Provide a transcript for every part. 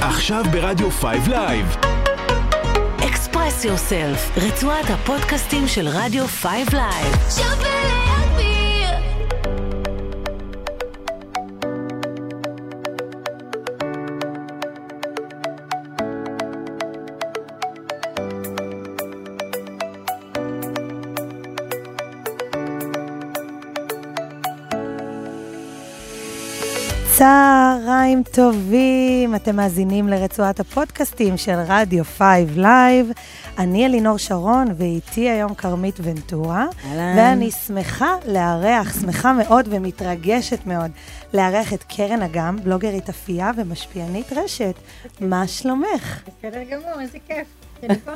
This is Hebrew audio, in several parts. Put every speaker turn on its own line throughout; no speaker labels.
עכשיו ברדיו 5 לייב.
אקספרס יוסלף, רצועת הפודקאסטים של רדיו 5 לייב.
שווה להגביר
צהריים טובים, אתם מאזינים לרצועת הפודקאסטים של רדיו 5 לייב. אני אלינור שרון, ואיתי היום כרמית ונטורה.
אהלן.
ואני שמחה לארח, שמחה מאוד ומתרגשת מאוד, לארח את קרן אגם, בלוגרית אפייה ומשפיענית רשת. מה שלומך?
בסדר גמור, איזה כיף. שאני פה.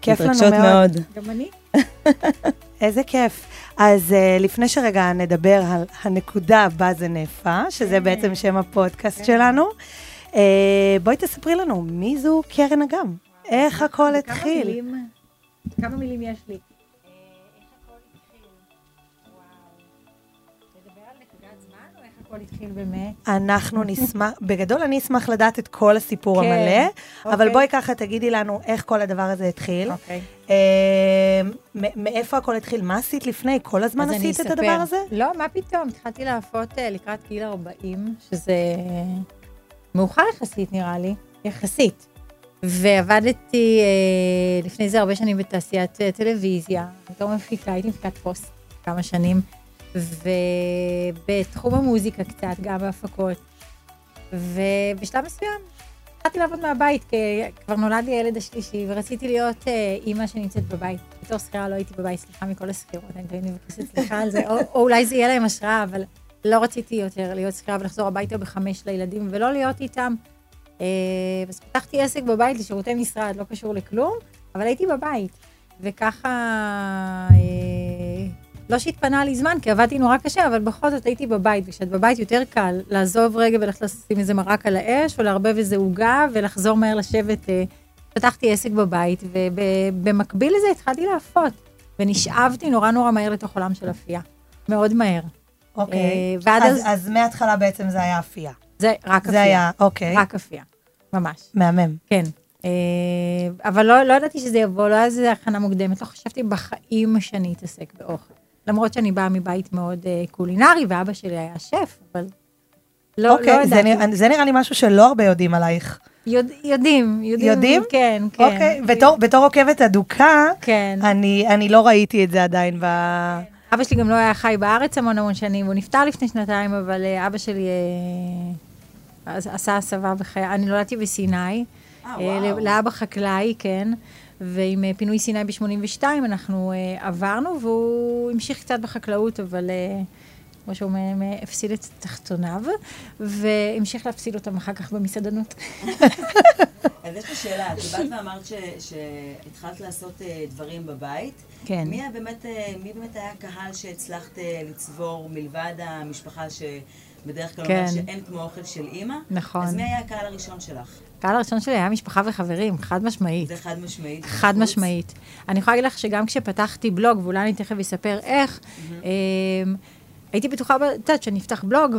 כיף לנו
מתרגשות
מאוד.
מאוד.
גם אני.
איזה כיף. אז uh, לפני שרגע נדבר על הנקודה בה זה נאפה, שזה
כן.
בעצם שם הפודקאסט שלנו, uh, בואי תספרי לנו, מי זו קרן אגם? איך הכל
נכון, כמה
התחיל?
מילים- כמה מילים יש לי? הכל התחיל באמת.
אנחנו נשמח, בגדול אני אשמח לדעת את כל הסיפור
כן,
המלא, אבל
אוקיי.
בואי ככה תגידי לנו איך כל הדבר הזה התחיל.
אוקיי.
אה, מ- מאיפה הכל התחיל? מה עשית לפני? כל הזמן
אז אני
עשית את
אספר.
הדבר הזה?
לא, מה פתאום, התחלתי להפות אה, לקראת גיל 40, שזה מאוחר יחסית נראה לי, יחסית. ועבדתי אה, לפני זה הרבה שנים בתעשיית אה, טלוויזיה, בתור מפיקה, הייתי מפיקת פוסט כמה שנים, ובתחום המוזיקה קצת, גם בהפקות. ובשלב מסוים התחלתי לעבוד מהבית, כי כבר נולד לי הילד השלישי, ורציתי להיות אה, אימא שנמצאת בבית. בתור שכירה לא הייתי בבית, סליחה מכל השכירות, אני תמיד מבקשת סליחה על זה, או, או אולי זה יהיה להם השראה, אבל לא רציתי יותר להיות שכירה ולחזור הביתה בחמש לילדים, ולא להיות איתם. אה, אז פתחתי עסק בבית לשירותי משרד, לא קשור לכלום, אבל הייתי בבית. וככה, אה, לא שהתפנה לי זמן, כי עבדתי נורא קשה, אבל בכל זאת הייתי בבית, וכשאת בבית יותר קל לעזוב רגע וללכת לשים איזה מרק על האש, או לערבב איזה עוגה, ולחזור מהר לשבת. אה, פתחתי עסק בבית, ובמקביל לזה התחלתי להפות, ונשאבתי נורא נורא מהר לתוך עולם של אפייה. מאוד מהר.
אוקיי.
אה, ועד
אז-
אז-
אז מההתחלה בעצם זה היה אפייה.
זה רק אפייה.
זה היה, אוקיי.
רק אפייה, ממש.
מהמם.
כן. אה, אבל לא, לא ידעתי שזה יבוא, לא היה איזה הכנה מוקדמת, לא חשבתי בחיים שאני אתעסק באוכל. למרות שאני באה מבית מאוד אה, קולינרי, ואבא שלי היה שף, אבל לא, לא
אוקיי, זה
ידעתי.
נראה- זה נראה לי משהו שלא הרבה יודעים עלייך.
יודע, יודעים, יודעים.
יודעים?
כן, כן.
אוקיי, בתור- בתור עוקבת אדוקה,
כן.
אני אני לא ראיתי את זה עדיין ב...
אבא שלי גם לא היה חי בארץ המון המון שנים, הוא נפטר לפני שנתיים, אבל אה, אבא שלי אה, אז- עשה הסבה בחיי, אני נולדתי בסיני, אה, ל- לאבא חקלאי, כן, ועם אה, פינוי סיני ב-82 אנחנו אה, עברנו, והוא המשיך קצת בחקלאות, אבל אה, כמו שהוא אומר, אה, הפסיד את תחתוניו, והמשיך להפסיד אותם אחר כך במסעדנות.
אז יש לי שאלה, את באת ואמרת ש- שהתחלת לעשות אה, דברים בבית.
כן.
מי היה באמת, אה, מי באמת היה הקהל שהצלחת אה, לצבור מלבד המשפחה שבדרך כלל אומר
כן.
שאין כמו אוכל של אימא?
נכון.
אז מי היה הקהל הראשון שלך?
הקהל הראשון שלי היה משפחה וחברים, חד משמעית.
זה חד משמעית.
חד
בחוץ?
משמעית. אני יכולה להגיד לך שגם כשפתחתי בלוג, ואולי אני תכף אספר איך, אמ, הייתי בטוחה, ב- את יודעת, שנפתח בלוג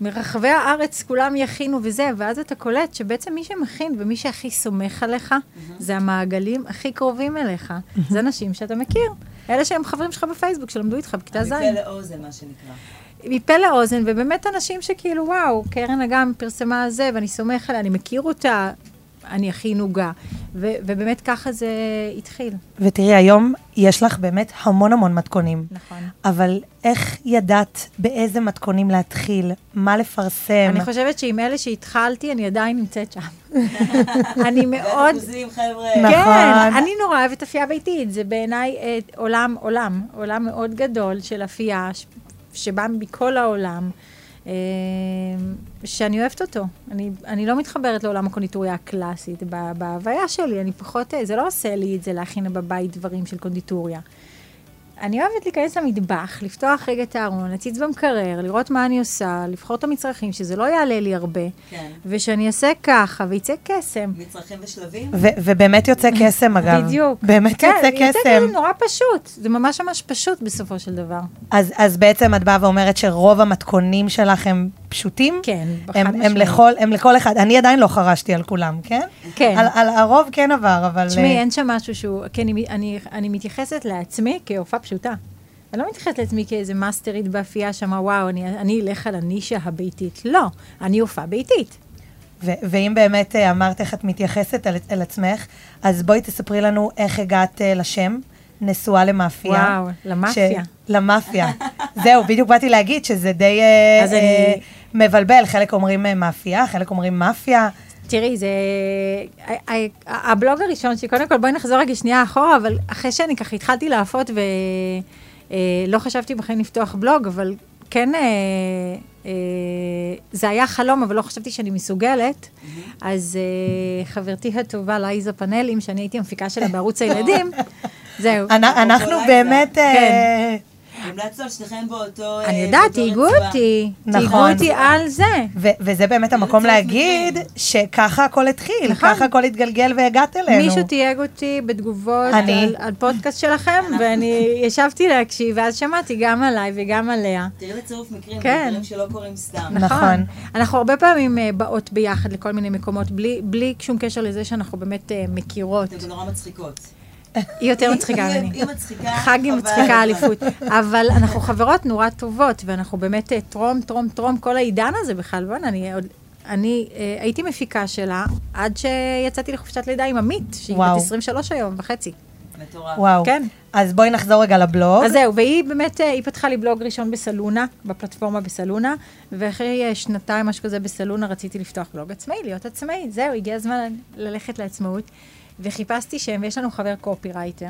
ומרחבי הארץ כולם יכינו וזה, ואז אתה קולט שבעצם מי שמכין ומי שהכי סומך עליך, זה המעגלים הכי קרובים אליך. זה אנשים שאתה מכיר. אלה שהם חברים שלך בפייסבוק, שלמדו איתך בכיתה ז'.
מפה לאוזן, מה שנקרא.
מפה לאוזן, ובאמת אנשים שכאילו, וואו, קרן אגם פרסמה זה, ואני סומך עליה, אני מכיר אותה, אני הכי נוגה. ו- ובאמת ככה זה התחיל.
ותראי, היום יש לך באמת המון המון מתכונים.
נכון.
אבל איך ידעת באיזה מתכונים להתחיל, מה לפרסם?
אני חושבת שעם אלה שהתחלתי, אני עדיין נמצאת שם. אני מאוד...
אחוזים, חבר'ה.
כן,
נכון.
אני נורא אוהבת אפייה ביתית, זה בעיניי אה, עולם, עולם, עולם מאוד גדול של אפייה, ש- שבא מכל העולם, אה, שאני אוהבת אותו. אני, אני לא מתחברת לעולם הקונדיטוריה הקלאסית ב- בהוויה שלי, אני פחות, אה, זה לא עושה לי את זה להכין בבית דברים של קונדיטוריה. אני אוהבת להיכנס למטבח, לפתוח רגע את הארון, להציץ במקרר, לראות מה אני עושה, לבחור את המצרכים, שזה לא יעלה לי הרבה,
כן.
ושאני אעשה ככה, ויצא קסם.
מצרכים ושלבים?
ו- ובאמת יוצא קסם, אגב.
בדיוק.
באמת יוצא
כן,
קסם.
זה נורא פשוט. זה ממש ממש פשוט בסופו של דבר.
אז, אז בעצם את באה ואומרת שרוב המתכונים שלך הם פשוטים.
כן, חד
הם, הם,
משמעית.
לכל, הם לכל אחד. אני עדיין לא חרשתי על כולם, כן?
כן.
על, על הרוב כן עבר, אבל...
תשמעי,
אה,
אין שם משהו שהוא... כן, אני- אני- אני מתייחסת לעצמי כהופעה פשוטה. אני לא מתייחסת לעצמי כאיזה מאסטרית באפייה שאמרה, וואו, אני- אני אלך על הנישה הביתית. לא, אני הופעה ביתית.
ו- ואם באמת אה, אמרת איך את מתייחסת אל, אל עצמך, אז בואי תספרי לנו איך הגעת אה, לשם, נשואה למאפיה.
וואו, למאפיה.
למאפיה. זהו, בדיוק באתי להגיד שזה די אה,
אז
אה,
אני-
מבלבל. חלק אומרים אה, מאפייה, חלק אומרים מאפיה.
תראי, זה... ה- ה- הבלוג הראשון שלי, קודם כל בואי נחזור רגע שנייה אחורה, אבל אחרי שאני ככה התחלתי להפות ולא לא חשבתי בכלל לפתוח בלוג, אבל כן, אה, אה, זה היה חלום, אבל לא חשבתי שאני מסוגלת. אז אה, חברתי הטובה, לייזה פאנלים, שאני הייתי המפיקה שלה בערוץ הילדים, זהו.
אנ- אנחנו
לילה.
באמת... אה,
אוקיי, כן.
המלצנו על שניכם באותו... אה,
אני יודעת,
באותו
תהיגו
רצועה.
אותי, אוקיי, תהיגו
נכון.
אותי על זה.
ו- וזה באמת המקום
לצורך
להגיד
מקרים.
שככה הכל התחיל,
נכון.
ככה הכל התגלגל והגעת אלינו.
מישהו תייג אותי בתגובות
אני.
על, על פודקאסט שלכם, ואני ישבתי להקשיב, ואז שמעתי גם עליי וגם עליה.
תראי לצירוף מקרים,
כן.
זה דברים שלא קורים סתם.
נכון.
אנחנו הרבה פעמים אה, באות ביחד לכל מיני מקומות, בלי, בלי שום קשר לזה שאנחנו באמת אה, מכירות.
אתן גם נורא מצחיקות.
היא יותר מצחיקה
נכון. היא-
ממני.
היא מצחיקה,
חגי
אבל-
מצחיקה אליפות. אבל אנחנו חברות נורא טובות, ואנחנו באמת אה, טרום, טרום, טרום, כל העידן הזה בכלל, בוא'נה, אני עוד... אני אה, הייתי מפיקה שלה עד שיצאתי לחופשת לידה עם עמית, שהיא
וואו.
בת 23 היום וחצי.
מטורף.
וואו.
כן.
אז בואי נחזור רגע לבלוג.
אז זהו, והיא באמת, אה, היא פתחה לי בלוג ראשון בסלונה, בפלטפורמה בסלונה, ואחרי אה, שנתיים, משהו כזה, בסלונה רציתי לפתוח בלוג עצמאי, להיות עצמאי. זהו, הגיע הזמן ללכת לעצמאות. וחיפשתי שם, ויש לנו חבר קופירייטר,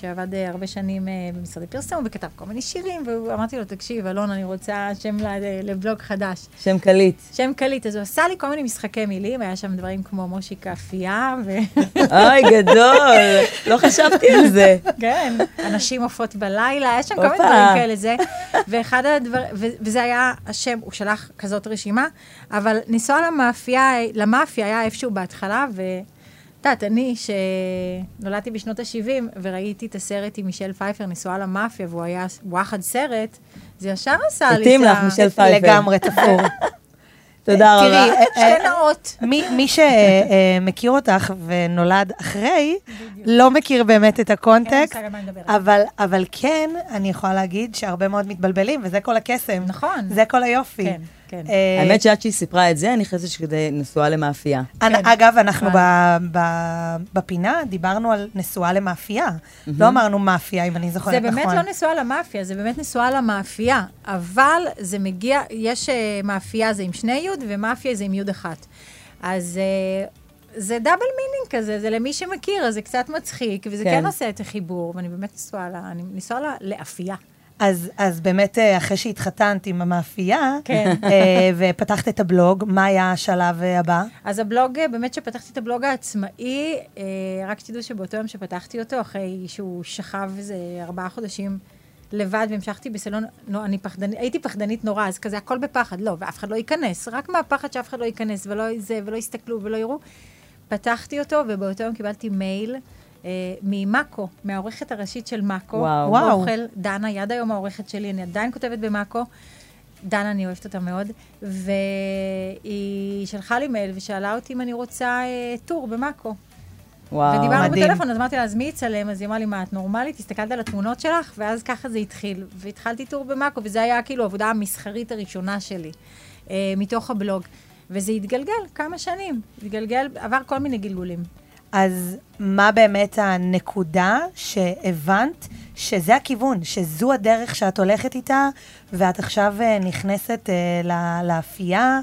שעבד אה, הרבה שנים אה, במשרדי פרסום, וכתב כל מיני שירים, ואמרתי לו, תקשיב, אלון, אני רוצה שם ל- לבלוג חדש.
שם קליט.
שם קליט, אז הוא עשה לי כל מיני משחקי מילים, היה שם דברים כמו מושיק האפייה, ו...
אוי, גדול. לא חשבתי על זה.
כן, הנשים עופות בלילה, יש שם כל
הופה.
מיני דברים כאלה, זה. ואחד הדברים, וזה היה השם, הוא שלח כזאת רשימה, אבל לנסוע למאפיה, למאפיה היה איפשהו בהתחלה, ו... את יודעת, אני, שנולדתי בשנות ה-70, וראיתי את הסרט עם מישל פייפר, נשואה למאפיה, והוא היה וואחד סרט, זה ישר עשה לי
מתאים
את
לך,
ה...
מישל פייפר.
לגמרי תפור.
אה,
תודה רבה.
תראי, אה,
שתי נאות.
מי, מי שמכיר אותך ונולד אחרי, לא מכיר באמת את
אין לי
הקונטקסט,
מושג על מה כן, אני מדברת.
אבל, אבל כן, אני יכולה להגיד שהרבה מאוד מתבלבלים, וזה כל הקסם.
נכון.
זה כל היופי.
כן, כן.
אה,
האמת שעד שהיא סיפרה את זה, אני חושבת שכדי נשואה למאפייה.
אנ- אגב, אנחנו
נכון.
ב- ב- בפינה דיברנו על נשואה למאפייה. לא אמרנו מאפיה, אם אני זוכרת
זה
נכון.
באמת לא נשואה למאפיה, זה באמת נשואה למאפייה, אבל זה מגיע, יש אה, מאפייה זה עם שני יוד, ומאפיה זה עם יוד אחת. אז אה, זה דאבל מינינג כזה, זה למי שמכיר, אז זה קצת מצחיק, וזה כן,
כן.
כן עושה את החיבור, ואני באמת נשואה, לה, אני נשואה לה, לאפייה.
אז, אז באמת, אה, אחרי שהתחתנת עם המאפייה,
כן.
אה, ופתחת את הבלוג, מה היה השלב אה, הבא?
אז הבלוג, אה, באמת שפתחתי את הבלוג העצמאי, אה, רק שתדעו שבאותו יום שפתחתי אותו, אחרי שהוא שכב איזה ארבעה חודשים לבד, והמשכתי בסלון, לא, אני פחדנית, הייתי פחדנית נורא, אז כזה הכל בפחד, לא, ואף אחד לא ייכנס, רק מהפחד שאף אחד לא ייכנס, ולא זה, ולא יסתכלו, ולא יראו. פתחתי אותו, ובאותו יום קיבלתי מייל. אה, ממאקו, מהעורכת הראשית של מאקו.
וואו.
וואו.
אוכל, דנה, היא עד היום העורכת שלי, אני עדיין כותבת במאקו. דנה, אני אוהבת אותה מאוד, והיא שלחה לי מייל ושאלה אותי אם אני רוצה אה, טור במאקו.
וואו.
ודיברנו
מדהים.
בטלפון, אז אמרתי לה, אז מי יצלם? אז היא אמרה לי, מה, את נורמלית? הסתכלת על התמונות שלך? ואז ככה זה התחיל. והתחלתי טור במאקו, וזה היה כאילו העבודה המסחרית הראשונה שלי, אה, מתוך הבלוג. וזה התגלגל כמה שנים. התגלגל, עבר כל מיני גלגולים.
אז מה באמת הנקודה שהבנת שזה הכיוון, שזו הדרך שאת הולכת איתה, ואת עכשיו אה, נכנסת אה, ל- לאפייה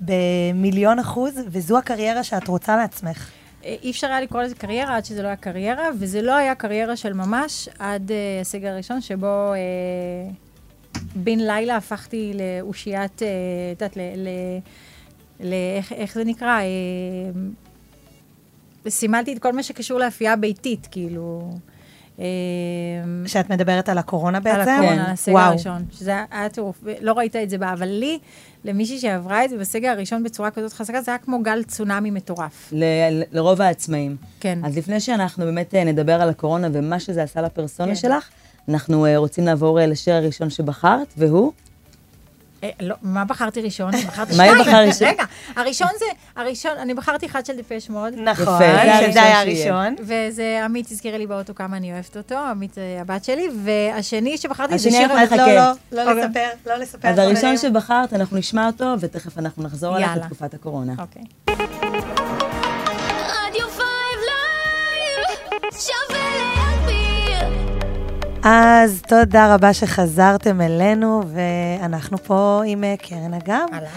במיליון אחוז, וזו הקריירה שאת רוצה לעצמך.
אה, אי אפשר היה לקרוא לזה קריירה עד שזה לא היה קריירה, וזה לא היה קריירה של ממש עד אה, הסגר הראשון, שבו אה, בן לילה הפכתי לאושיית, אה, את יודעת, ל... ל, ל איך, איך זה נקרא? אה, סימלתי את כל מה שקשור לאפייה ביתית, כאילו... אה,
שאת מדברת על הקורונה בעצם?
על הקורונה,
כן.
על הסגר
וואו.
הראשון, שזה היה טירוף, לא ראית את זה בה, אבל לי, למישהי שעברה את זה בסגר הראשון בצורה כזאת חזקה, זה היה כמו גל צונאמי מטורף.
ל- לרוב העצמאים.
כן.
אז לפני שאנחנו באמת אה, נדבר על הקורונה ומה שזה עשה לפרסונה
כן.
שלך, אנחנו אה, רוצים לעבור אה, לשיר הראשון שבחרת, והוא?
אה, לא, מה בחרתי ראשון? בחרתי
מה היא
שניים.
בחרה ראשון?
רגע, הראשון זה, הראשון, אני בחרתי אחד של דפש מוד.
נכון,
יפה, זה
שזה היה
הראשון שיהיה.
הראשון.
וזה עמית הזכירה לי באוטו כמה אני אוהבת אותו, עמית אה, הבת שלי, והשני שבחרתי זה
השני אה,
שיר...
אנחנו
אז לא,
נחכה.
לא, לא
אוקיי.
לספר, לא לספר.
אז הראשון
חברים.
שבחרת, אנחנו נשמע אותו, ותכף אנחנו נחזור אליו
יאללה.
בתקופת הקורונה.
אוקיי.
רדיו 5 לייב שווה להגביר
אז תודה רבה שחזרתם אלינו, ואנחנו פה עם אה, קרן אגב.
אהלן.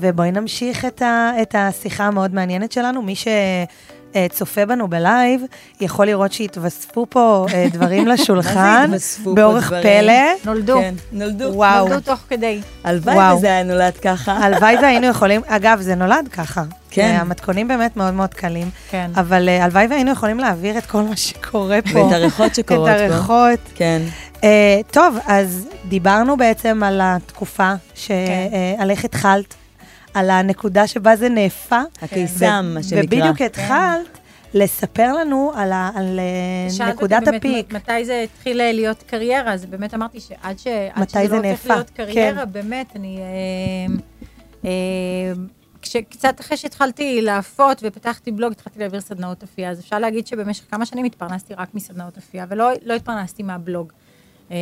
ובואי נמשיך את, ה, את השיחה המאוד מעניינת שלנו. מי שצופה בנו בלייב, יכול לראות שהתווספו פה אה, דברים לשולחן,
התווספו פה
באורח
דברים?
פלא.
נולדו.
כן, נולדו.
וואו.
נולדו תוך כדי.
הלוואי
וואו.
וזה היה נולד ככה.
הלוואי והיינו יכולים, אגב, זה נולד ככה.
כן.
אה, המתכונים באמת מאוד מאוד קלים.
כן.
אבל אה, הלוואי והיינו יכולים להעביר את כל מה שקורה פה.
ואת הריחות שקורות פה.
את הריחות.
כן.
אה, טוב, אז דיברנו בעצם על התקופה
כן.
שעל איך התחלת, על הנקודה שבה זה נאפה.
הקיסם,
ו-
מה שנקרא.
כן.
ובדיוק התחלת לספר לנו על ה- על, אה,
שאלת אותי
נקודת
באמת
הפיק.
מ- מתי זה התחיל אה, להיות קריירה, אז באמת אמרתי שעד ש... עד
מתי
שזה
זה
לא הופך
נהפך, כן.
להיות קריירה, באמת, אני... אה, אה, כש- קצת אחרי שהתחלתי להפות ופתחתי בלוג, התחלתי להעביר סדנאות אפייה, אז אפשר להגיד שבמשך כמה שנים התפרנסתי רק מסדנאות אפייה, ולא לא התפרנסתי מהבלוג. אה,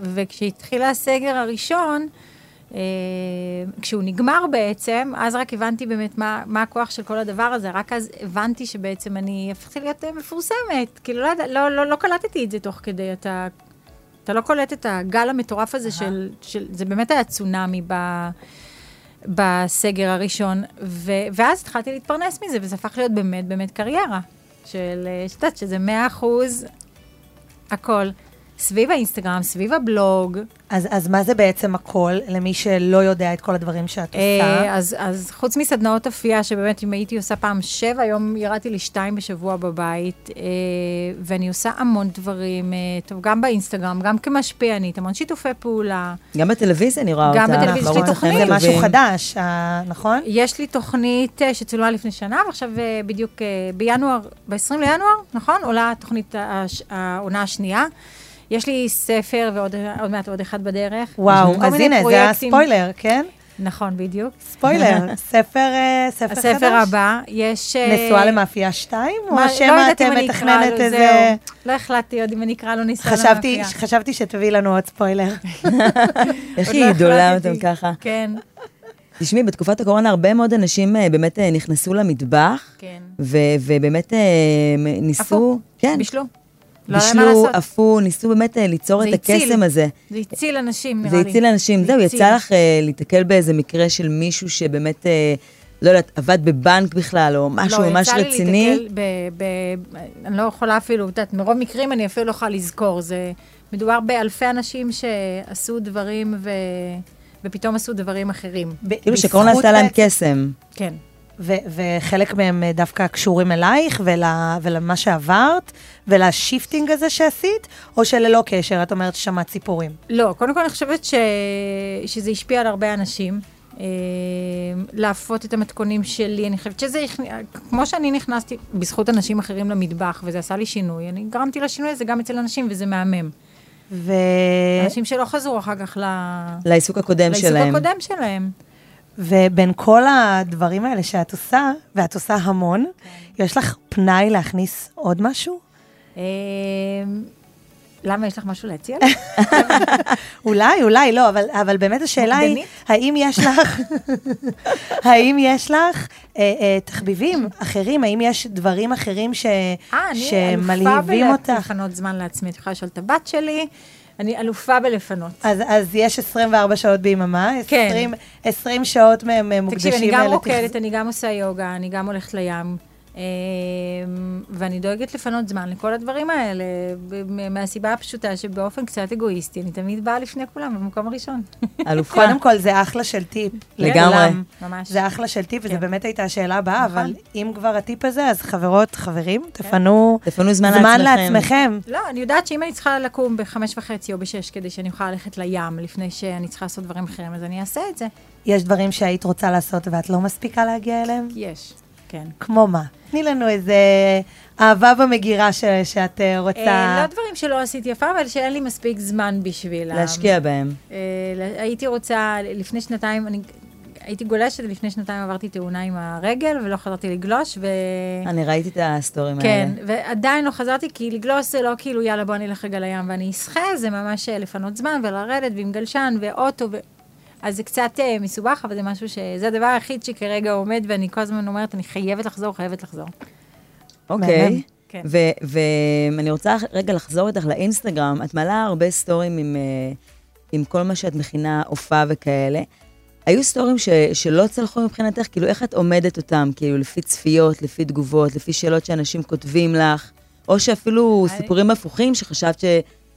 וכשהתחיל הסגר הראשון, אה, כשהוא נגמר בעצם, אז רק הבנתי באמת מה, מה הכוח של כל הדבר הזה, רק אז הבנתי שבעצם אני הפכתי להיות אה, מפורסמת. כאילו, לא, יודע- לא, לא, לא קלטתי את זה תוך כדי, אתה, אתה לא קולט את הגל המטורף הזה של, של... זה באמת היה צונאמי ב... בסגר הראשון, ו- ואז התחלתי להתפרנס מזה, וזה הפך להיות באמת באמת קריירה. של, אה, שאת יודעת, שזה 100 אחוז הכל. סביב האינסטגרם, סביב הבלוג,
אז אז מה זה בעצם הכל, למי שלא יודע את כל הדברים שאת
אה,
עושה?
אז, אז חוץ מסדנאות אפייה, שבאמת אם הייתי עושה פעם שבע, היום ירדתי לשתיים בשבוע בבית, אה, ואני עושה המון דברים, אה, טוב, גם באינסטגרם, גם כמשפיענית, המון שיתופי פעולה.
גם בטלוויזיה אני רואה
גם
אותה.
בטלוויזיה יש לי
בערוץ החיים
תוכנית.
אה, זה משהו
הטובים.
חדש, אה, נכון?
יש לי תוכנית אה, שצולמה לפני שנה, ועכשיו אה, בדיוק אה, בינואר, ב-20 לינואר, נכון? עולה תוכנית העונה השנייה. יש לי ספר ועוד עוד מעט עוד אחד בדרך.
וואו,
כל
אז
מיני
הנה, זה
פרויקטים.
הספוילר, כן?
נכון, בדיוק.
ספוילר, ספר אה, ספר חדש.
הספר הבא, יש... אה,
נשואה למאפייה 2,
מה-
או
לא
שמא
יודעת אם
אתם
אני אקרא
מתכננת
לו,
איזה...
זהו. לא החלטתי עוד אם אני אקרא לו ניסיון
חשבתי,
המאפייה.
חשבתי שתביאי לנו עוד ספוילר.
איך
עוד
היא
לא
גדולה
החלטתי.
אותם ככה.
כן,
תשמעי, בתקופת הקורונה הרבה מאוד אנשים אה, באמת אה, נכנסו למטבח,
כן.
ו- ובאמת אה, מ- ניסו...
עפו.
כן.
בישלו. לא היה מה
בישלו,
לעשות.
עפו, ניסו באמת אה, ליצור
זה
את
הציל.
הקסם הזה.
זה הציל אנשים, נראה
זה
לי.
הציל אנשים. זהו, יצא לך אה, להתקל באיזה מקרה של מישהו שבאמת, אה, לא יודעת, עבד בבנק בכלל, או משהו אה, ממש
לא, יצא
רציני.
לי להתקל ב... ב- אני לא יכולה אפילו, את יודעת, מרוב מקרים אני אפילו לא יכולה לזכור. זה... מדובר באלפי אנשים שעשו דברים ו... ופתאום עשו דברים אחרים.
כאילו שקורונה עשתה להם קסם.
כן.
ו- וחלק מהם אה, דווקא קשורים אלייך ול- ולמה שעברת ולשיפטינג הזה שעשית, או שללא קשר, את אומרת ששמעת סיפורים.
לא, קודם כל אני חושבת ש... שזה השפיע על הרבה אנשים. אה, להפות את המתכונים שלי, אני חושבת שזה, הכנ- כמו שאני נכנסתי בזכות אנשים אחרים למטבח, וזה עשה לי שינוי, אני גרמתי לשינוי הזה גם אצל אנשים, וזה מהמם.
ו...
אנשים שלא חזרו אחר כך ל...
לעיסוק הקודם
לעיסוק
אה? שלהם.
הקודם שלהם.
ובין כל הדברים האלה שאת עושה, ואת עושה המון, יש לך פנאי להכניס עוד משהו?
אה, למה יש לך משהו להציע? אה,
אולי, אולי לא, אבל, אבל באמת השאלה היא,
מוקדנית?
האם יש לך, האם יש לך אה, אה, תחביבים אחרים, האם יש דברים אחרים ש,
אה, אני אלופה
שמלהיבים אותך?
בלפנות זמן לעצמי, את יכולה לשאול את הבת שלי, אני אלופה בלפנות.
אז, אז יש 24 שעות ביממה,
כן.
20, 20 שעות מהם אה, מוקדשים
תקשיב, אני גם
לתכנון.
רוקדת, אני גם עושה יוגה, אני גם הולכת לים, אמ, ואני דואגת לפנות זמן לכל הדברים האלה, ב- מ- מהסיבה הפשוטה שבאופן קצת אגואיסטי, אני תמיד באה לפני כולם במקום הראשון.
אלופה.
קודם כל, זה אחלה של טיפ.
לגמרי.
לכולם.
ממש.
זה אחלה של טיפ, וזו
כן. נכון.
באמת הייתה השאלה הבאה, אבל אם כבר הטיפ הזה, אז חברות, חברים,
כן.
תפנו
תפנו זמן
זמן
לעצמכם.
לעצמכם.
לא, אני יודעת שאם אני צריכה לקום בחמש וחצי או בשש כדי שאני אוכל ללכת לים לפני שאני צריכה לעשות דברים אחרים, אז אני אעשה את זה.
יש דברים שהיית רוצה לעשות ואת לא מספיקה להגיע אליהם?
יש. כן.
כמו מה? תני לנו איזה אהבה במגירה ש- שאת אה,
אה,
רוצה.
לא דברים שלא עשיתי אף פעם, אבל שאין לי מספיק זמן בשבילם.
להשקיע בהם.
אה, ל- הייתי רוצה, לפני שנתיים, אני הייתי גולשת, לפני שנתיים עברתי תאונה עם הרגל, ולא חזרתי לגלוש, ו...
אני ראיתי את הסטורים האלה.
כן, ועדיין לא חזרתי, כי לגלוש זה לא כאילו, יאללה, בוא נלך רגע לים ואני אשחה, זה ממש אה, לפנות זמן ולרדת, ועם גלשן, ואוטו, ו... אז זה קצת אה, מסובך, אבל זה משהו ש... זה הדבר היחיד שכרגע עומד, ואני כל הזמן אומרת, אני חייבת לחזור, חייבת לחזור.
אוקיי.
מהמם.
כן.
ואני רוצה רגע לחזור איתך לאינסטגרם. את מעלה הרבה סטורים עם, אה, עם כל מה שאת מכינה, הופעה וכאלה. היו סטורים ש, שלא צלחו מבחינתך? כאילו, איך את עומדת אותם? כאילו, לפי צפיות, לפי תגובות, לפי שאלות שאנשים כותבים לך, או שאפילו
אני-
סיפורים הפוכים שחשבת ש,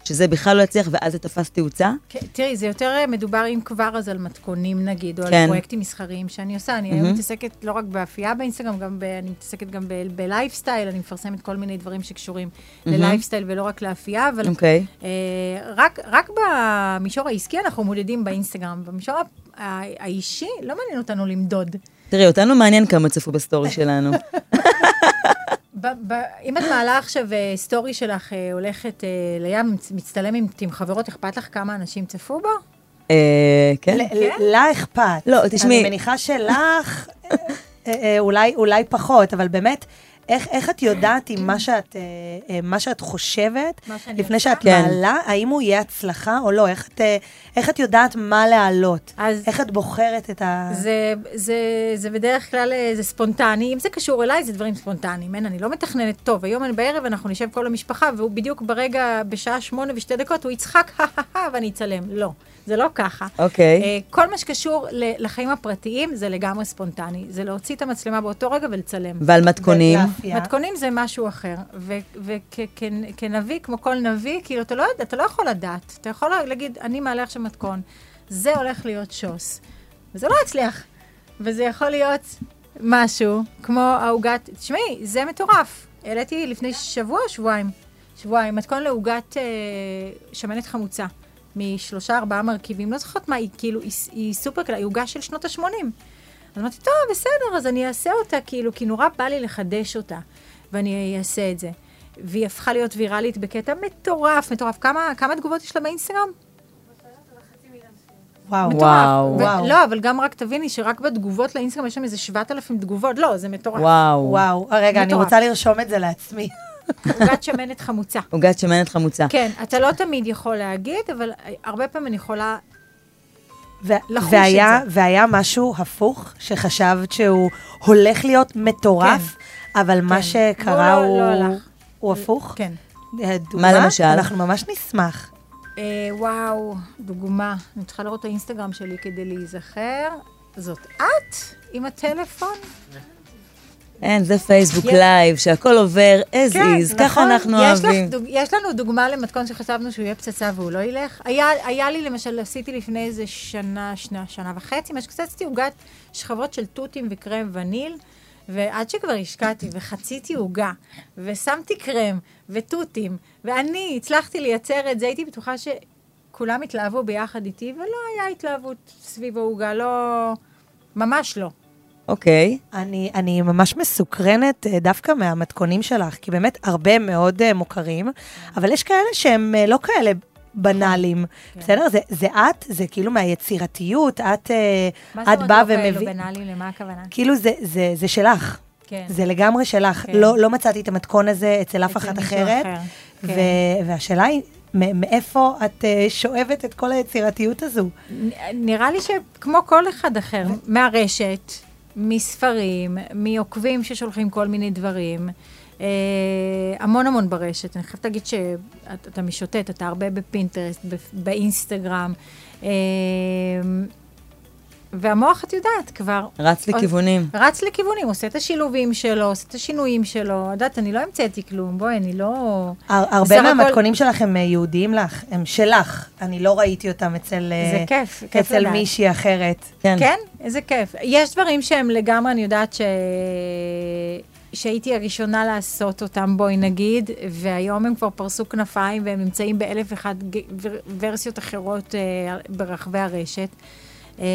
שזה בכלל לא יצליח ואז זה תפס תאוצה?
כן, תראי, זה יותר אה, מדובר, אם כבר, אז על מתכונים נגיד, או
כן.
על פרויקטים מסחריים שאני עושה. אני היום מתעסקת לא רק באפייה באינסטגרם, גם ב, אני מתעסקת גם ב- בלייפסטייל, אני מפרסמת כל מיני דברים שקשורים ללייפסטייל ולא רק לאפייה, אבל
אוקיי.
אה, רק, רק במישור העסקי אנחנו מודדים באינסטגרם, במישור ה- ה- האישי לא מעניין אותנו למדוד.
תראי, אותנו מעניין כמה צפו בסטורי שלנו.
ב- ב- אם את מעלה עכשיו אה, סטורי שלך, אה, הולכת אה, לים, מצ- מצטלם עם עם חברות, אכפת לך כמה אנשים צפו בו?
אה, כן.
ל- ל- לה אכפת.
לא, תשמעי-
אני מניחה שלך, אה, אה, אולי, אולי פחות, אבל באמת, איך, איך את יודעת אם מה שאת, אה, אה, מה שאת חושבת,
מה שאני
לפני שאת
כן.
מעלה, האם הוא יהיה הצלחה או לא? איך את, אה, איך את יודעת מה להעלות?
אז-
איך את בוחרת את ה...
זה, זה, זה בדרך כלל, אה, זה ספונטני. אם זה קשור אליי, זה דברים ספונטניים. אין, אני לא מתכננת טוב. היום אני בערב, אנחנו נשב כל המשפחה, והוא בדיוק ברגע, בשעה שמונה ושתי דקות, הוא יצחק, הא ואני אצלם. לא, זה לא ככה.
אוקיי.
אה, כל מה שקשור ל- לחיים הפרטיים, זה לגמרי ספונטני. זה להוציא את המצלמה באותו רגע ולצלם.
ועל מתכונים.
ולאפייה.
מתכונים זה משהו אחר, וכנביא, כמו כל נביא, כאילו, אתה לא, יודע- אתה לא יכול לדעת. אתה יכול להגיד, אני מעלה עכשיו מתכון, זה הולך להיות שוס. וזה לא יצליח. וזה יכול להיות משהו כמו העוגת, תשמעי, זה מטורף. העליתי לפני שבוע, שבועיים, שבועיים, מתכון לעוגת אה, שמנת חמוצה. משלושה, ארבעה מרכיבים, לא זוכרת מה, היא כאילו, היא, היא סופר קלה, היא עוגה של שנות ה-80. אז אמרתי, טוב, בסדר, אז אני אעשה אותה, כאילו, כי נורא בא לי לחדש אותה, ואני אעשה את זה. והיא הפכה להיות ויראלית בקטע מטורף, מטורף. כמה, כמה תגובות יש לה באינסטגרם?
וואו.
וואו.
מטורף.
וואו.
לא, אבל גם רק תביני שרק בתגובות לאינסטגרם יש שם איזה 7,000 תגובות. לא, זה מטורף.
וואו.
וואו, רגע, אני
מטורף.
רוצה לרשום את זה לעצמי.
עוגת שמנת חמוצה.
עוגת שמנת חמוצה.
כן, אתה לא תמיד יכול להגיד, אבל הרבה פעמים אני יכולה...
ו-
לחוש
והיה,
את
והיה משהו הפוך, שחשבת שהוא הולך להיות מטורף, אבל מה שקרה
והוא
הוא...
כן. לא- לא הלך.
הוא הפוך?
כן.
אה, דוגמה?
למשל?
אנחנו ממש נשמח.
אה, וואו, דוגמה. אני צריכה לראות את האינסטגרם שלי כדי להיזכר. זאת את עם הטלפון?
אין, זה פייסבוק
יש-
לייב, שהכל עובר as is, ככה
נכון.
אנחנו
יש לך
אוהבים.
דוג... יש לנו דוגמה למתכון שחשבנו שהוא יהיה פצצה והוא לא ילך. היה, היה לי, למשל, עשיתי לפני איזה שנה, שנה, שנה וחצי, מה שקצצתי עוגת שכבות של תותים וקרם וניל, ועד שכבר השקעתי וחציתי עוגה, ושמתי קרם ותותים, ואני הצלחתי לייצר את זה, הייתי בטוחה שכולם התלהבו ביחד איתי, ולא היה התלהבות סביב העוגה, לא... ממש לא.
אוקיי.
אני, אני ממש מסוקרנת אה, דווקא מהמתכונים שלך, כי באמת הרבה מאוד אה, מוכרים, אבל יש כאלה שהם אה, לא כאלה
נכון.
בנאליים,
כן.
בסדר? זה, זה את, זה כאילו מהיצירתיות, את, אה,
מה
את
זאת
באה
אומרת לא כאלו
ומביא...
בנאלי, למה הכוונה?
כאילו זה, זה, זה שלך.
כן.
זה לגמרי שלך.
כן.
לא, לא מצאתי את המתכון הזה אצל אף
אצל
אחת
מישהו
אחרת.
אחר,
ו-
כן.
והשאלה היא, מ- מאיפה את אה, שואבת את כל היצירתיות הזו?
נ- נראה לי שכמו כל אחד אחר, מהרשת, מספרים, מעוקבים ששולחים כל מיני דברים, אה, המון המון ברשת. אני חייבת להגיד שאתה משוטט, אתה הרבה בפינטרסט, ב- באינסטגרם, אה, והמוח, את יודעת, כבר...
רץ לכיוונים.
רץ לכיוונים, עושה את השילובים שלו, עושה את השינויים שלו. את יודעת, אני לא המצאתי כלום, בואי, אני לא...
הר-
בסך
הרבה
הכל-
מהמתכונים שלך הם אה, יהודיים לך, הם שלך. אני לא ראיתי אותם אצל, אה,
זה כיף, כיף
אצל
לדעת.
מישהי אחרת.
כן.
כן, איזה כיף. יש דברים שהם לגמרי, אני יודעת ש... שהייתי הראשונה לעשות אותם, בואי נגיד, והיום הם כבר פרסו כנפיים והם נמצאים באלף ואחת ג- ור- ורסיות אחרות אה, ברחבי הרשת. אה,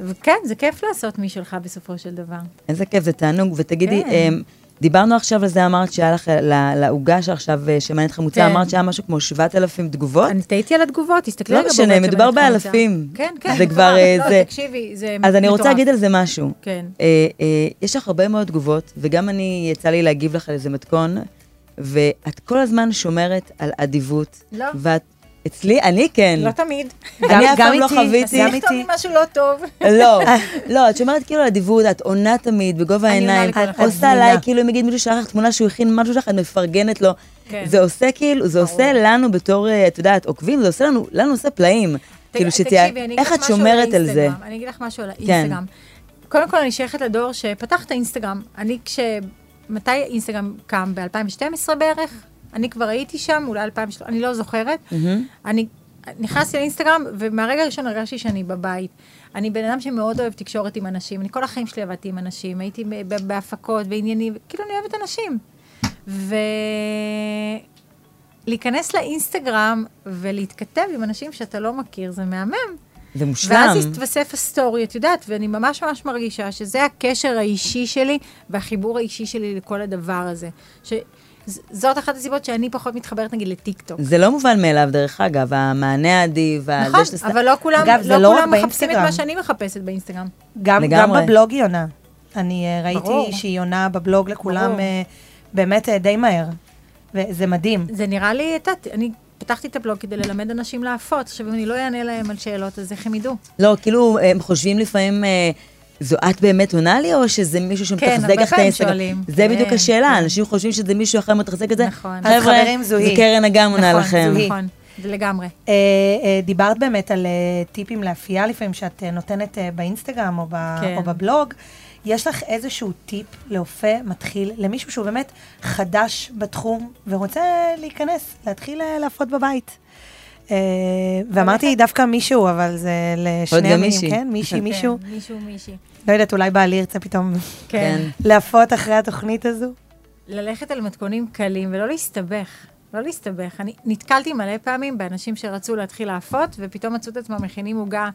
וכן, זה כיף לעשות משלך בסופו של דבר.
איזה כיף, זה תענוג. ותגידי,
כן.
אמ, דיברנו עכשיו על זה, אמרת שהיה לך, ל- לעוגה שעכשיו, אה, שמעניינת חמוצה,
כן.
אמרת שהיה משהו כמו 7,000 תגובות?
אני תהיתי על התגובות, תסתכלי
לא
רגע.
משנה,
בבית
מדובר
שבנית חמוצה.
באלפים.
כן, כן.
זה
מטורף.
כבר, אה,
לא,
זה-
תקשיבי, זה
אז אני רוצה
מטורף.
להגיד על זה משהו.
כן.
אה, אה, יש לך הרבה מאוד תגובות, וגם אני, יצא לי להגיב לך על איזה מתכון, ואת כל הזמן שומרת על אדיבות.
לא.
ואת... אצלי, אני כן.
לא תמיד.
אני אף
גם
פעם לא
איתי,
חוויתי.
גם
אז תכתוב לי
איתי.
משהו לא טוב.
לא, לא, את שומרת כאילו על אדיבות, את עונה תמיד בגובה
אני עונה
העיניים,
לכל
אחד.
עושה
את
עליי,
זמינה.
כאילו אם יגיד מישהו שלח לך תמונה שהוא הכין משהו שלך, את מפרגנת לו.
כן.
זה עושה כאילו, זה עושה לנו בתור, אה, את יודעת, עוקבים, זה עושה לנו, לנו עושה פלאים.
תקשיבי,
כאילו שתהיה,
אני אגיד
איך
לך
את
משהו
שומרת על זה?
האינסטגרם, אני אגיד לך משהו על האינסטגרם. קודם כל, אני שייכת לדור שפתח את האינסטגרם. אני כש... מתי אינסטגרם קם? ב-2012 בערך? אני כבר הייתי שם, אולי 2013, אני לא זוכרת. אני נכנסתי לאינסטגרם, ומהרגע הראשון הרגשתי שאני בבית. אני בן אדם שמאוד אוהב תקשורת עם אנשים. אני כל החיים שלי עבדתי עם אנשים, הייתי ב- ב- בהפקות, בעניינים, כאילו אני אוהבת אנשים. ו... להיכנס לאינסטגרם ולהתכתב עם אנשים שאתה לא מכיר, זה מהמם.
זה מושלם.
ואז התווסף הסטורי, את יודעת, ואני ממש ממש מרגישה שזה הקשר האישי שלי והחיבור האישי שלי לכל הדבר הזה. ש... ז- זאת אחת הסיבות שאני פחות מתחברת, נגיד, לטיקטוק.
זה לא מובן מאליו, דרך אגב, המענה האדיב, וה-
נכון,
זה שאתה-
אבל לא כולם,
אגב, זה
לא
לא רק
כולם מחפשים את
באינסטגרם.
מה שאני מחפשת באינסטגרם.
גם, גם
לגמרי.
בבלוג היא עונה. אני אה, ראיתי
ברור.
שהיא עונה בבלוג לכולם
ברור.
אה, באמת אה, די מהר. וזה מדהים.
זה נראה לי, את יודעת, אני פתחתי את הבלוג כדי ללמד אנשים להפות. עכשיו, אם אני לא אענה להם על שאלות, אז איך הם ידעו?
לא, כאילו, הם חושבים לפעמים, אה, זו את באמת עונה לי, או שזה מישהו שמתחזק
כן, הרבה
לך את
פעמים
האינסטגרם?
שואלים.
זה בדיוק
כן,
השאלה, אנשים חושבים שזה מישהו אחר מתחזק את זה.
נכון. אז
חבר'ה,
חברים, זו
זה
היא.
קרן אגם עונה
נכון,
לכם.
זו היא.
נכון, לגמרי.
אה, אה, דיברת באמת על אה, טיפים לאפייה לפעמים שאת אה, נותנת אה, באינסטגרם או, ב,
כן.
או בבלוג. יש לך איזשהו טיפ לאופה מתחיל, למישהו שהוא באמת חדש בתחום ורוצה להיכנס, להתחיל אה, להפות בבית. אה, ואמרתי דווקא מישהו, אבל זה
עוד
לשני
גם
המינים,
מישהי.
כן? מישהי,
כן.
מישהו.
כן, מישהו, מישהי.
לא יודעת, אולי בעלי ירצה פתאום
כן.
להפות אחרי התוכנית הזו.
ללכת על מתכונים קלים ולא להסתבך. לא להסתבך. אני נתקלתי מלא פעמים באנשים שרצו להתחיל לאפות, ופתאום מצאו את עצמם מכינים עוגה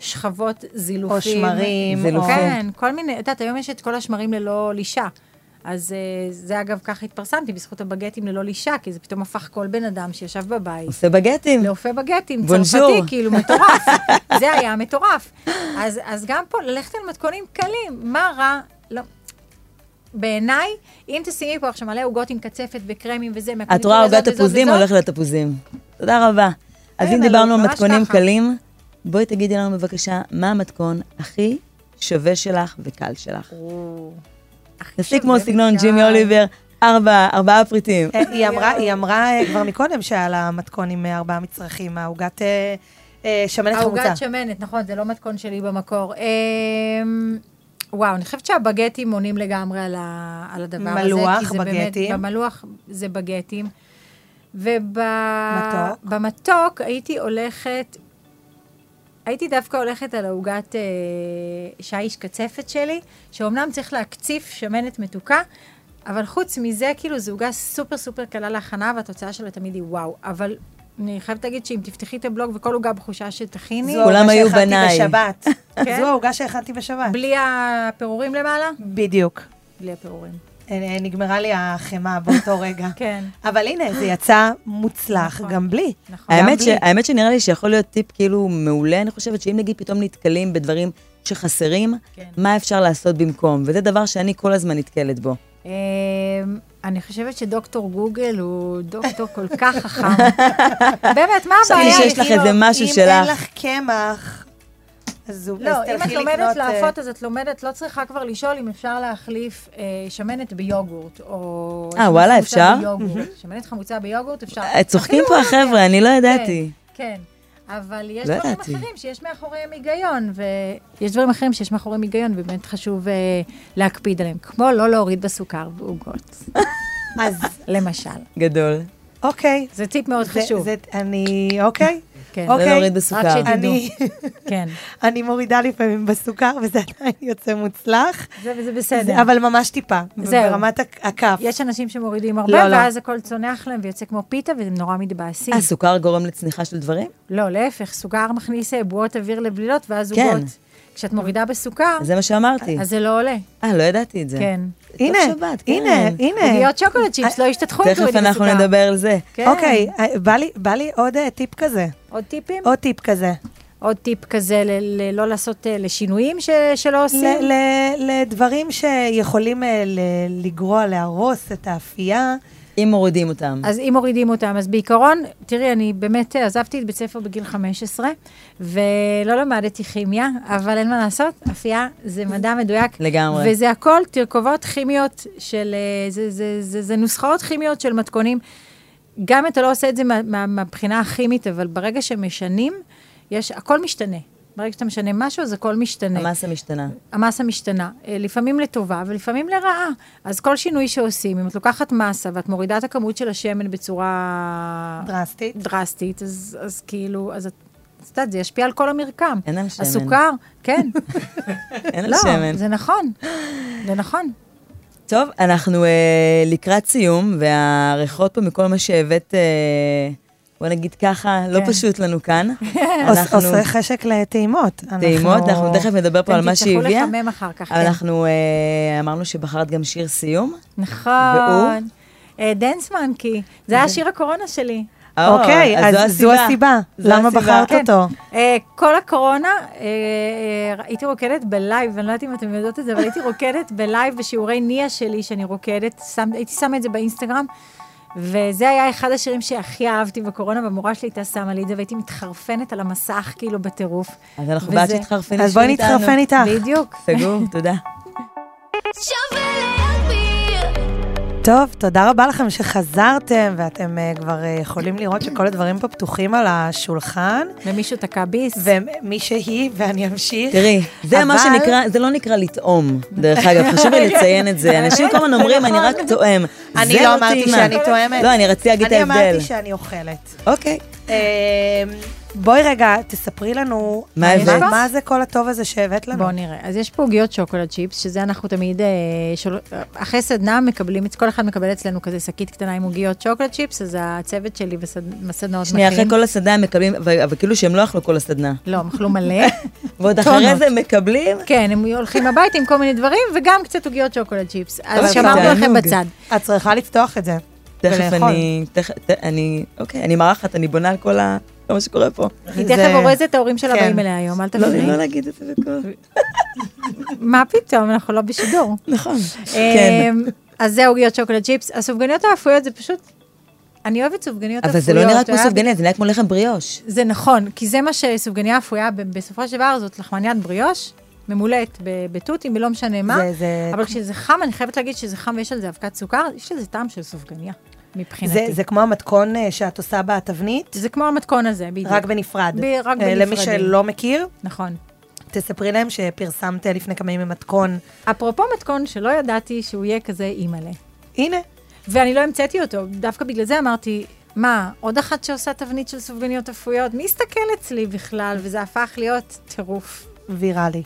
שכבות זילופים.
או שמרים, או...
זילופים.
כן, כל מיני, את יודעת, היום יש את כל השמרים ללא לישה. אז אה, זה אגב, ככה התפרסמתי, בזכות הבגטים ללא לישה, כי זה פתאום הפך כל בן אדם שישב בבית.
עושה בגטים.
לאופה בגטים,
בונז'ור.
צרפתי, כאילו מטורף. זה היה מטורף. אז, אז גם פה, ללכת על מתכונים קלים, מה רע? לא. בעיניי, אם תשימי פה עכשיו מלא עוגות עם קצפת וקרמים וזה,
את רואה
מהקונדיטוריה
עוגת
הזאת וזאת
תפוזים
וזאת,
הולכת לתפוזים. תודה רבה.
כן,
אז אם
אבל
דיברנו על
ממש
מתכונים
ככה.
קלים, בואי תגידי לנו בבקשה, מה המתכון הכי שווה שלך וקל שלך?
הכי
תעשי
שווה כן.
כמו סגנון
וקל.
ג'ימי אוליבר, ארבע, ארבעה פריטים.
אה, היא אמרה, היא אמרה אה, כבר מקודם שהיה לה מתכון עם אה, ארבעה מצרכים, העוגת אה, אה, שמנת חמוצה.
העוגת שמנת, נכון, זה לא מתכון שלי במקור. אמ, וואו, אני חושבת שהבגטים עונים לגמרי על, ה, על הדבר הזה.
מלוח,
כי זה
בגטים.
באמת, במלוח זה בגטים.
מתוק.
ובמתוק הייתי הולכת, הייתי דווקא הולכת על העוגת אה, שיש קצפת שלי, שאומנם צריך להקציף שמנת מתוקה, אבל חוץ מזה, כאילו, זו עוגה סופר סופר קלה להכנה, והתוצאה שלה תמיד היא וואו. אבל אני חייבת להגיד שאם תפתחי את הבלוג וכל עוגה בחושה שתכיני,
זו
כולם
העוגה
היו
שהכנתי
בניי.
בשבת.
כן?
זו העוגה שהכנתי בשבת.
בלי הפירורים למעלה?
בדיוק.
בלי הפירורים.
אה, אה, נגמרה לי החמאה באותו רגע.
כן.
אבל הנה, זה יצא מוצלח גם בלי.
נכון.
האמת, ש,
בלי.
האמת שנראה לי שיכול להיות טיפ כאילו מעולה, אני חושבת שאם נגיד פתאום נתקלים בדברים שחסרים,
כן.
מה אפשר לעשות במקום? וזה דבר שאני כל הזמן נתקלת בו.
אמ, אני חושבת שדוקטור גוגל הוא דוקטור כל כך חכם. באמת, מה
חשבתי
הבעיה?
שיש לך
כאילו,
איזה משהו
אם
שלך.
אין לך קמח, אז הוא- אז
לא, אם את
תלכי
לומדת
לקנות, אה,
להפות, אז את לומדת, לא צריכה כבר לשאול אם אפשר להחליף אה, שמנת ביוגורט, או...
אה,
שמנת
וואלה,
חמוצה
אפשר?
ביוגורט. שמנת חמוצה ביוגורט, אפשר.
אה, צוחקים
אפילו
פה
לא יודע.
החבר'ה, אני לא
כן,
ידעתי.
כן, אבל יש
לא
דברים
ידעתי.
אחרים שיש מאחוריהם היגיון, ויש דברים אחרים שיש מאחוריהם היגיון, ובאמת חשוב אה, להקפיד עליהם, כמו לא להוריד בסוכר ועוגות,
אז
למשל.
גדול.
אוקיי.
זה טיפ מאוד
זה-
חשוב.
זה- אני, אוקיי.
כן.
לא
אוקיי.
להוריד בסוכר.
שתדעו.
אני-
כן.
אני מורידה לפעמים בסוכר, וזה עדיין יוצא מוצלח.
זה וזה בסדר.
זה- אבל ממש טיפה,
זהו.
ברמת הכ- הכף.
יש אנשים שמורידים
לא,
הרבה,
לא.
ואז הכל צונח להם ויוצא כמו פיתה, והם נורא מתבאסים.
אה, סוכר גורם לצניחה של דברים?
לא, להפך, סוגר מכניס אה, בועות אה, אוויר לבלילות, ואז
כן.
עוגות. כשאת מורידה בסוכר,
זה מה שאמרתי.
אז זה לא עולה.
אה, לא ידעתי את זה.
כן.
הנה,
שבת, כן.
הנה, הנה.
עוגיות שוקולד צ'יפס לא השתתחו עם
תכף
תורידי
אנחנו
בסוכר.
נדבר על זה.
כן.
אוקיי, אה, בא לי- בא לי עוד אה, טיפ כזה.
עוד טיפים?
עוד טיפ כזה.
עוד טיפ כזה ל- ל- לא לעשות, אה, לשינויים ש- שלא עושים?
ל- ל- לדברים שיכולים אה, ל- לגרוע, להרוס את האפייה.
אם מורידים אותם.
אז אם מורידים אותם, אז בעיקרון, תראי, אני באמת אה, עזבתי את בית ספר בגיל 15, ולא למדתי כימיה, אבל אין מה לעשות, אפייה זה מדע מדויק.
לגמרי.
וזה הכל תרכובות כימיות של, אה, זה, זה, זה, זה נוסחאות כימיות של מתכונים. גם אם אתה לא עושה את זה מה- מה- מהבחינה הכימית, אבל ברגע שמשנים, יש, הכל משתנה. ברגע שאתה משנה משהו, אז הכל משתנה.
המסה משתנה.
המסה משתנה, אה, לפעמים לטובה ולפעמים לרעה. אז כל שינוי שעושים, אם את לוקחת מסה ואת מורידה את הכמות של השמן בצורה
דרסטית.
דרסטית אז, אז כאילו, אז את... את יודעת, זה ישפיע על כל המרקם.
אין על שמן.
הסוכר, כן.
אין על
לא,
שמן.
זה נכון. זה נכון.
טוב, אנחנו אה, לקראת סיום, והריחות פה מכל מה שהבאת, אה, בוא נגיד ככה, לא
כן.
פשוט לנו כאן.
עוש-
כן. אנחנו-
כן. עושה חשק לטעימות.
טעימות, אנחנו תכף נדבר פה
אתם
על מה
תצטרכו
שהיא הביאה.
לחמם אחר כך,
אבל
כן.
אנחנו אה, אמרנו שבחרת גם שיר סיום.
נכון. אה, דנס מנקי, זה
אוקיי.
היה שיר הקורונה שלי.
אה,
אוקיי, אז זו הסיבה.
זו
למה
הסיבה.
בחרת
כן.
אותו?
אה, כל הקורונה, אה, אה, הייתי רוקדת בלייב, ואני לא יודעת אם אתם יודעות את זה, אבל הייתי רוקדת בלייב בשיעורי ניה שלי, שאני רוקדת, שם, הייתי שמה את זה באינסטגרם, וזה היה אחד השירים שהכי אהבתי בקורונה, והמורה שלי הייתה שמה לי את זה, והייתי מתחרפנת על המסך, כאילו, בטירוף.
אז אנחנו בעד
וזה-
שתתחרפני
אז בואי
שוב איתנו.
נתחרפן איתך.
בדיוק.
סגור, תודה.
שווה להגביר
טוב, תודה רבה לכם שחזרתם, ואתם אה, כבר אה, יכולים לראות שכל הדברים פה פתוחים על השולחן.
ומישהו תקע ביס.
ומי שהיא, ואני אמשיך.
תראי, זה מה
אבל-
שנקרא, זה לא נקרא לטעום, דרך אגב, חשוב לי לציין את זה. אנשים כל הזמן אומרים, אני רק טועם.
אני
זה
לא אמרתי
טעימה.
שאני תואמת.
לא, אני רציתי להגיד את ההבדל.
אני אמרתי שאני אוכלת.
אוקיי.
אה, בואי רגע, תספרי לנו...
מה הבאת?
מה זה כל הטוב הזה שהבאת לנו?
בואו נראה. אז יש פה עוגיות שוקולד צ'יפס, שזה אנחנו תמיד, אה, של... אחרי סדנה מקבלים, כל אחד מקבל אצלנו כזה שקית קטנה עם עוגיות שוקולד צ'יפס, אז הצוות שלי בסדנאות
שנייה, אחרי כל הסדנה הם מקבלים, ו- אבל כאילו שהם לא אכלו כל הסדנה.
לא, הם אכלו מלא.
ועוד
טונות.
אחרי זה הם מקבלים,
כן, הם הולכים הביתה עם כל מיני דברים, וגם קצת עוגיות שוקולד צ'יפס.
אבל
אז שמרנו לכם
תענוג.
בצד.
את צריכה לפתוח את זה.
תכף
ולאכול.
אני, תכף, ת- אני, אוקיי, אני מארחת, אני בונה על כל ה... כל מה שקורה פה.
היא
זה-
תכף אורזת את ההורים שלה
כן.
באים אליה היום, אל
לא,
תביני.
לא להגיד את זה בכל...
מה פתאום, אנחנו לא בשידור.
נכון. כן.
אמ, אז זה עוגיות שוקולד צ'יפס. הסופגניות האפויות זה פשוט... אני אוהבת סופגניות אפויות.
אבל זה לא נראה כמו
אה?
סופגניה, זה נראה כמו לחם בריאוש.
זה נכון, כי זה מה שסופגניה אפויה ב- בסופו של דבר, זאת לחמניית בריאוש, ממולאת ב- בתותים, בלא משנה מה.
זה- זה-
אבל כשזה חם, אני חייבת להגיד שזה חם ויש על זה אבקת סוכר, יש לזה טעם של סופגניה, מבחינתי.
זה, זה כמו המתכון אה, שאת עושה בתבנית,
זה כמו המתכון הזה, בדיוק.
רק בנפרד.
ב- רק
אה, למי
בנפרדים.
שלא מכיר,
נכון.
תספרי להם שפרסמת לפני כמה ימים מתכון.
אפרופו מתכון שלא ידעתי שהוא יהיה כזה אימא'לה.
הנה,
ואני לא המצאתי אותו, דווקא בגלל זה אמרתי, מה, עוד אחת שעושה תבנית של סופגניות אפויות? מי יסתכל אצלי בכלל? וזה הפך להיות טירוף.
ויראלי.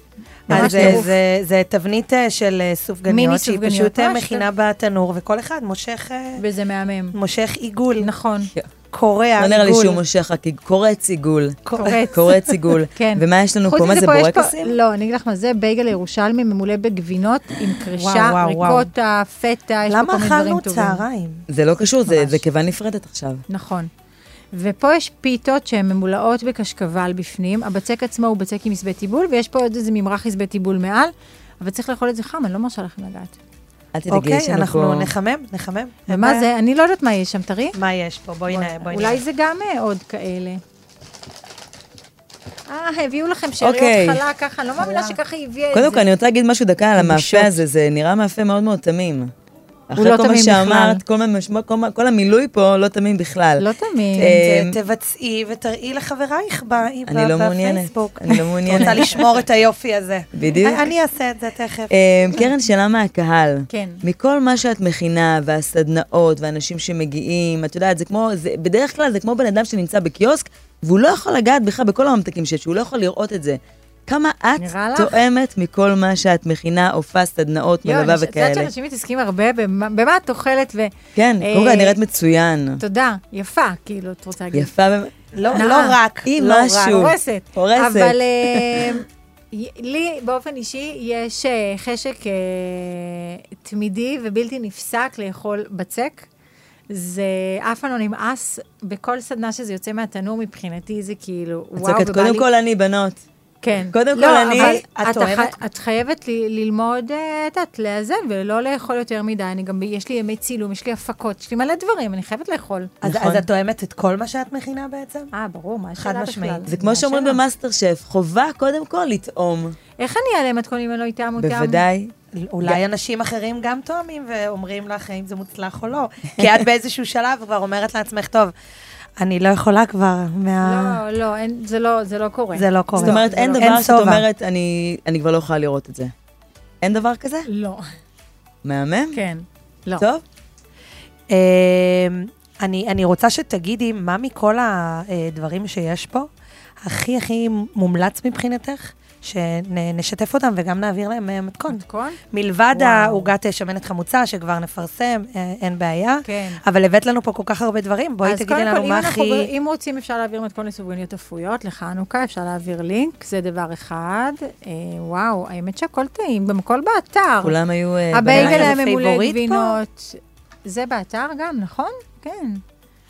ממש
אז זה,
טירוף.
זה, זה תבנית אה, של אה, סופגניות,
מיני
שהיא
סופגניות,
פשוט אה,
ממש
מכינה בתנור, וכל אחד מושך, אה,
וזה מהמם.
מושך עיגול,
נכון.
קורע
לא
עיגול.
נראה לי שהוא מושך רק קורץ עיגול.
קורץ.
קורץ עיגול.
כן.
ומה יש לנו
חוץ
פה? מה
מזה,
זה
פה יש פה-
בורקסים?
לא, אני אגיד לך מה זה, בייגל ירושלמי ממולא בגבינות עם
וואו,
קרישה,
וואו, וואו.
ריקוטה, פטה, יש פה
למה
כל מיני דברים
אכלנו
טובים.
צהריים?
זה לא קשור, זה
ממש.
זה קיבה נפרדת עכשיו.
נכון. ופה יש פיתות שהן ממולאות בקשקבל בפנים, הבצק עצמו הוא בצק עם עזבי טיבול, ויש פה עוד איזה ממרח עזבי טיבול מעל, אבל צריך לאכול את זה חם, אני לא מרשה לכם לגעת.
אל תדאגי, יש
אוקיי,
לנו פה...
אנחנו נחמם, נחמם.
ומה זה? אני לא יודעת מה יש שם, תראי.
מה יש פה? בואי נראה, בואי נראה.
אולי זה גם אה, עוד כאלה. אה, הביאו לכם שאריות
אוקיי.
חלה ככה, אני לא מאמינה שככה היא הביאה את זה.
קודם כל, אני רוצה להגיד משהו דקה על המאפה הזה, זה נראה מאפה מאוד מאוד תמים. אחרי
לא
כל מה
תמים
שאמרת,
בכלל.
כל מה- משמע- כל מה- כל המילוי פה לא תמים בכלל.
לא תמיד.
אה,
ת- תבצעי ותראי לחברייך ב- ב-
אני לא מעוניינת.
בפייסבוק.
אני לא מעוניינת.
רוצה לשמור את היופי הזה.
בדיוק.
אני- אני אעשה את זה תכף.
אה, קרן, שאלה מהקהל.
כן.
מכל מה שאת מכינה, והסדנאות, ואנשים שמגיעים, את יודעת, זה כמו, זה, בדרך כלל זה כמו בן אדם שנמצא בקיוסק, והוא לא יכול לגעת בכלל בכל הממתקים שיש, הוא לא יכול לראות את זה. כמה את
נראה לך?
תואמת מכל מה שאת מכינה, הופעה, סדנאות,
יואו,
מלווה
אני- את יודעת
וכאלה.
שאנשים מתעסקים הרבה במה במה את אוכלת, ו...
כן,
אה,
קודם כל, את נראית מצוין.
תודה, יפה, כאילו, את רוצה להגיד.
יפה. באמת.
לא
נאה.
לא רק,
היא
לא רק.
משהו.
הורסת.
הורסת.
אבל אה, י- לי באופן אישי יש אה, חשק אה, תמידי ובלתי נפסק לאכול בצק. זה אף פעם לא נמאס, בכל סדנה שזה יוצא מהתנור מבחינתי זה כאילו,
את
וואו,
צועקת,
ובא
קודם
לי-
כל אני, בנות.
כן.
קודם
לא,
כל אני-
אבל
את
את,
אוהבת?
ח... את חייבת ל... ללמוד, אה, את יודעת, לאזן ולא לאכול יותר מדי. אני גם, יש לי ימי צילום, יש לי הפקות, יש לי מלא דברים, אני חייבת לאכול.
אז
נכון.
אז את תואמת את כל מה שאת מכינה בעצם?
אה, ברור, מה השאלה
חד
בכלל?
משמעית.
מה
זה כמו שאומרים
השאלה?
במאסטר שף, חובה קודם כל לטעום.
איך אני אעלה מתכונים אם לא איתם אותם?
בוודאי.
אולי אנשים אחרים גם תואמים ואומרים לך אם זה מוצלח או לא. כי את באיזשהו שלב כבר אומרת לעצמך, טוב, אני לא יכולה כבר מה...
לא, לא, אין, זה לא, זה לא קורה.
זה לא קורה.
זאת אומרת, אין
לא-
דבר שאת
שובע.
אומרת, "אני- אני כבר לא יכולה לראות את זה. אין דבר כזה?
לא.
מהמם?
כן. לא.
טוב?
אמ, אני, אני רוצה שתגידי מה מכל הדברים שיש פה הכי הכי מומלץ מבחינתך, שנשתף אותם וגם נעביר להם אה, מתכון.
מתכון?
מלבד
וואו.
העוגת אה, שמנת חמוצה, שכבר נפרסם, אה, אין בעיה.
כן.
אבל הבאת לנו פה כל כך הרבה דברים, בואי
אז
תגידי
קודם כל,
לנו
אם
מה
אנחנו-
הכי...
אם רוצים, אפשר להעביר מתכון לסובלניות אפויות לחנוכה, אפשר להעביר לינק, זה דבר אחד. אה, וואו, האמת שהכל טעים, גם הכל באתר.
כולם היו... אה,
הבייגל
בלילה.
היה
זה
ממולא
פייבוריט פה?
גבינות. זה באתר גם, נכון? כן.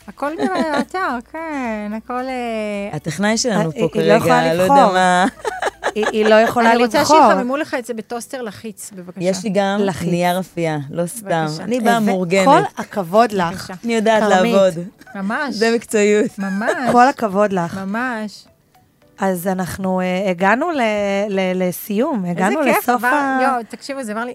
הכל באתר, כן, הכל... אה,
הטכנאי שלנו
היא-
פה
היא לא יכולה
כרגע, לא יודע
לבחור.
מה...
היא, היא לא יכולה
אני
לבחור.
רוצה שיחממו לך את זה בטוסטר לחיץ, בבקשה.
יש לי גם
לחיץ.
נייר אפייה, לא סתם.
בבקשה.
אני באה
ו-
מאורגנת,
כל הכבוד לך.
בבקשה.
אני יודעת
אה, כרמית.
לעבוד.
ממש,
זה מקצועיות.
ממש,
כל הכבוד לך.
ממש.
אז אנחנו אה, הגענו ל- ל- לסיום,
איזה
הגענו
כיף,
לסוף
עבר...
ה...
יואו, תקשיבו, זה אמר לי,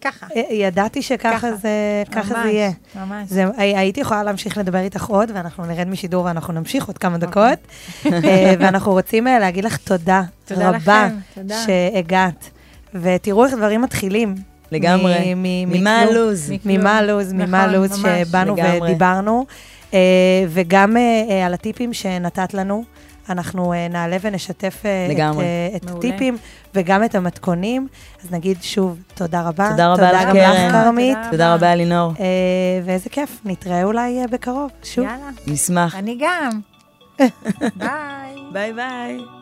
ככה.
אה, ידעתי שככה
ככה.
זה, ככה זה יהיה.
ממש, ממש.
זה, הי- הייתי יכולה להמשיך לדבר איתך עוד, ואנחנו נרד משידור ואנחנו נמשיך עוד כמה דקות. אה, ואנחנו רוצים אה, להגיד לך תודה
אוקיי. תודה
רבה
לכם, תודה.
שהגעת. ותראו איך דברים מתחילים.
לגמרי.
מ- מ-
ממה
מכלום.
הלו"ז?
מכלום.
ממה הלו"ז, ממה
נכון,
הלו"ז
ממש.
שבאנו
לגמרי.
ודיברנו, אה, וגם אה, אה, על הטיפים שנתת לנו. אנחנו אה, נעלה ונשתף אה, את,
לגמרי.
אה, את
מעולה.
הטיפים וגם את המתכונים. אז נגיד שוב, תודה רבה.
תודה רבה לך,
תודה גם
קרן.
לך, כרמית.
תודה רבה, אלינור.
אה, ואיזה כיף, נתראה אולי אה, בקרוב, שוב.
יאללה,
נשמח.
אני גם. ביי.
ביי ביי.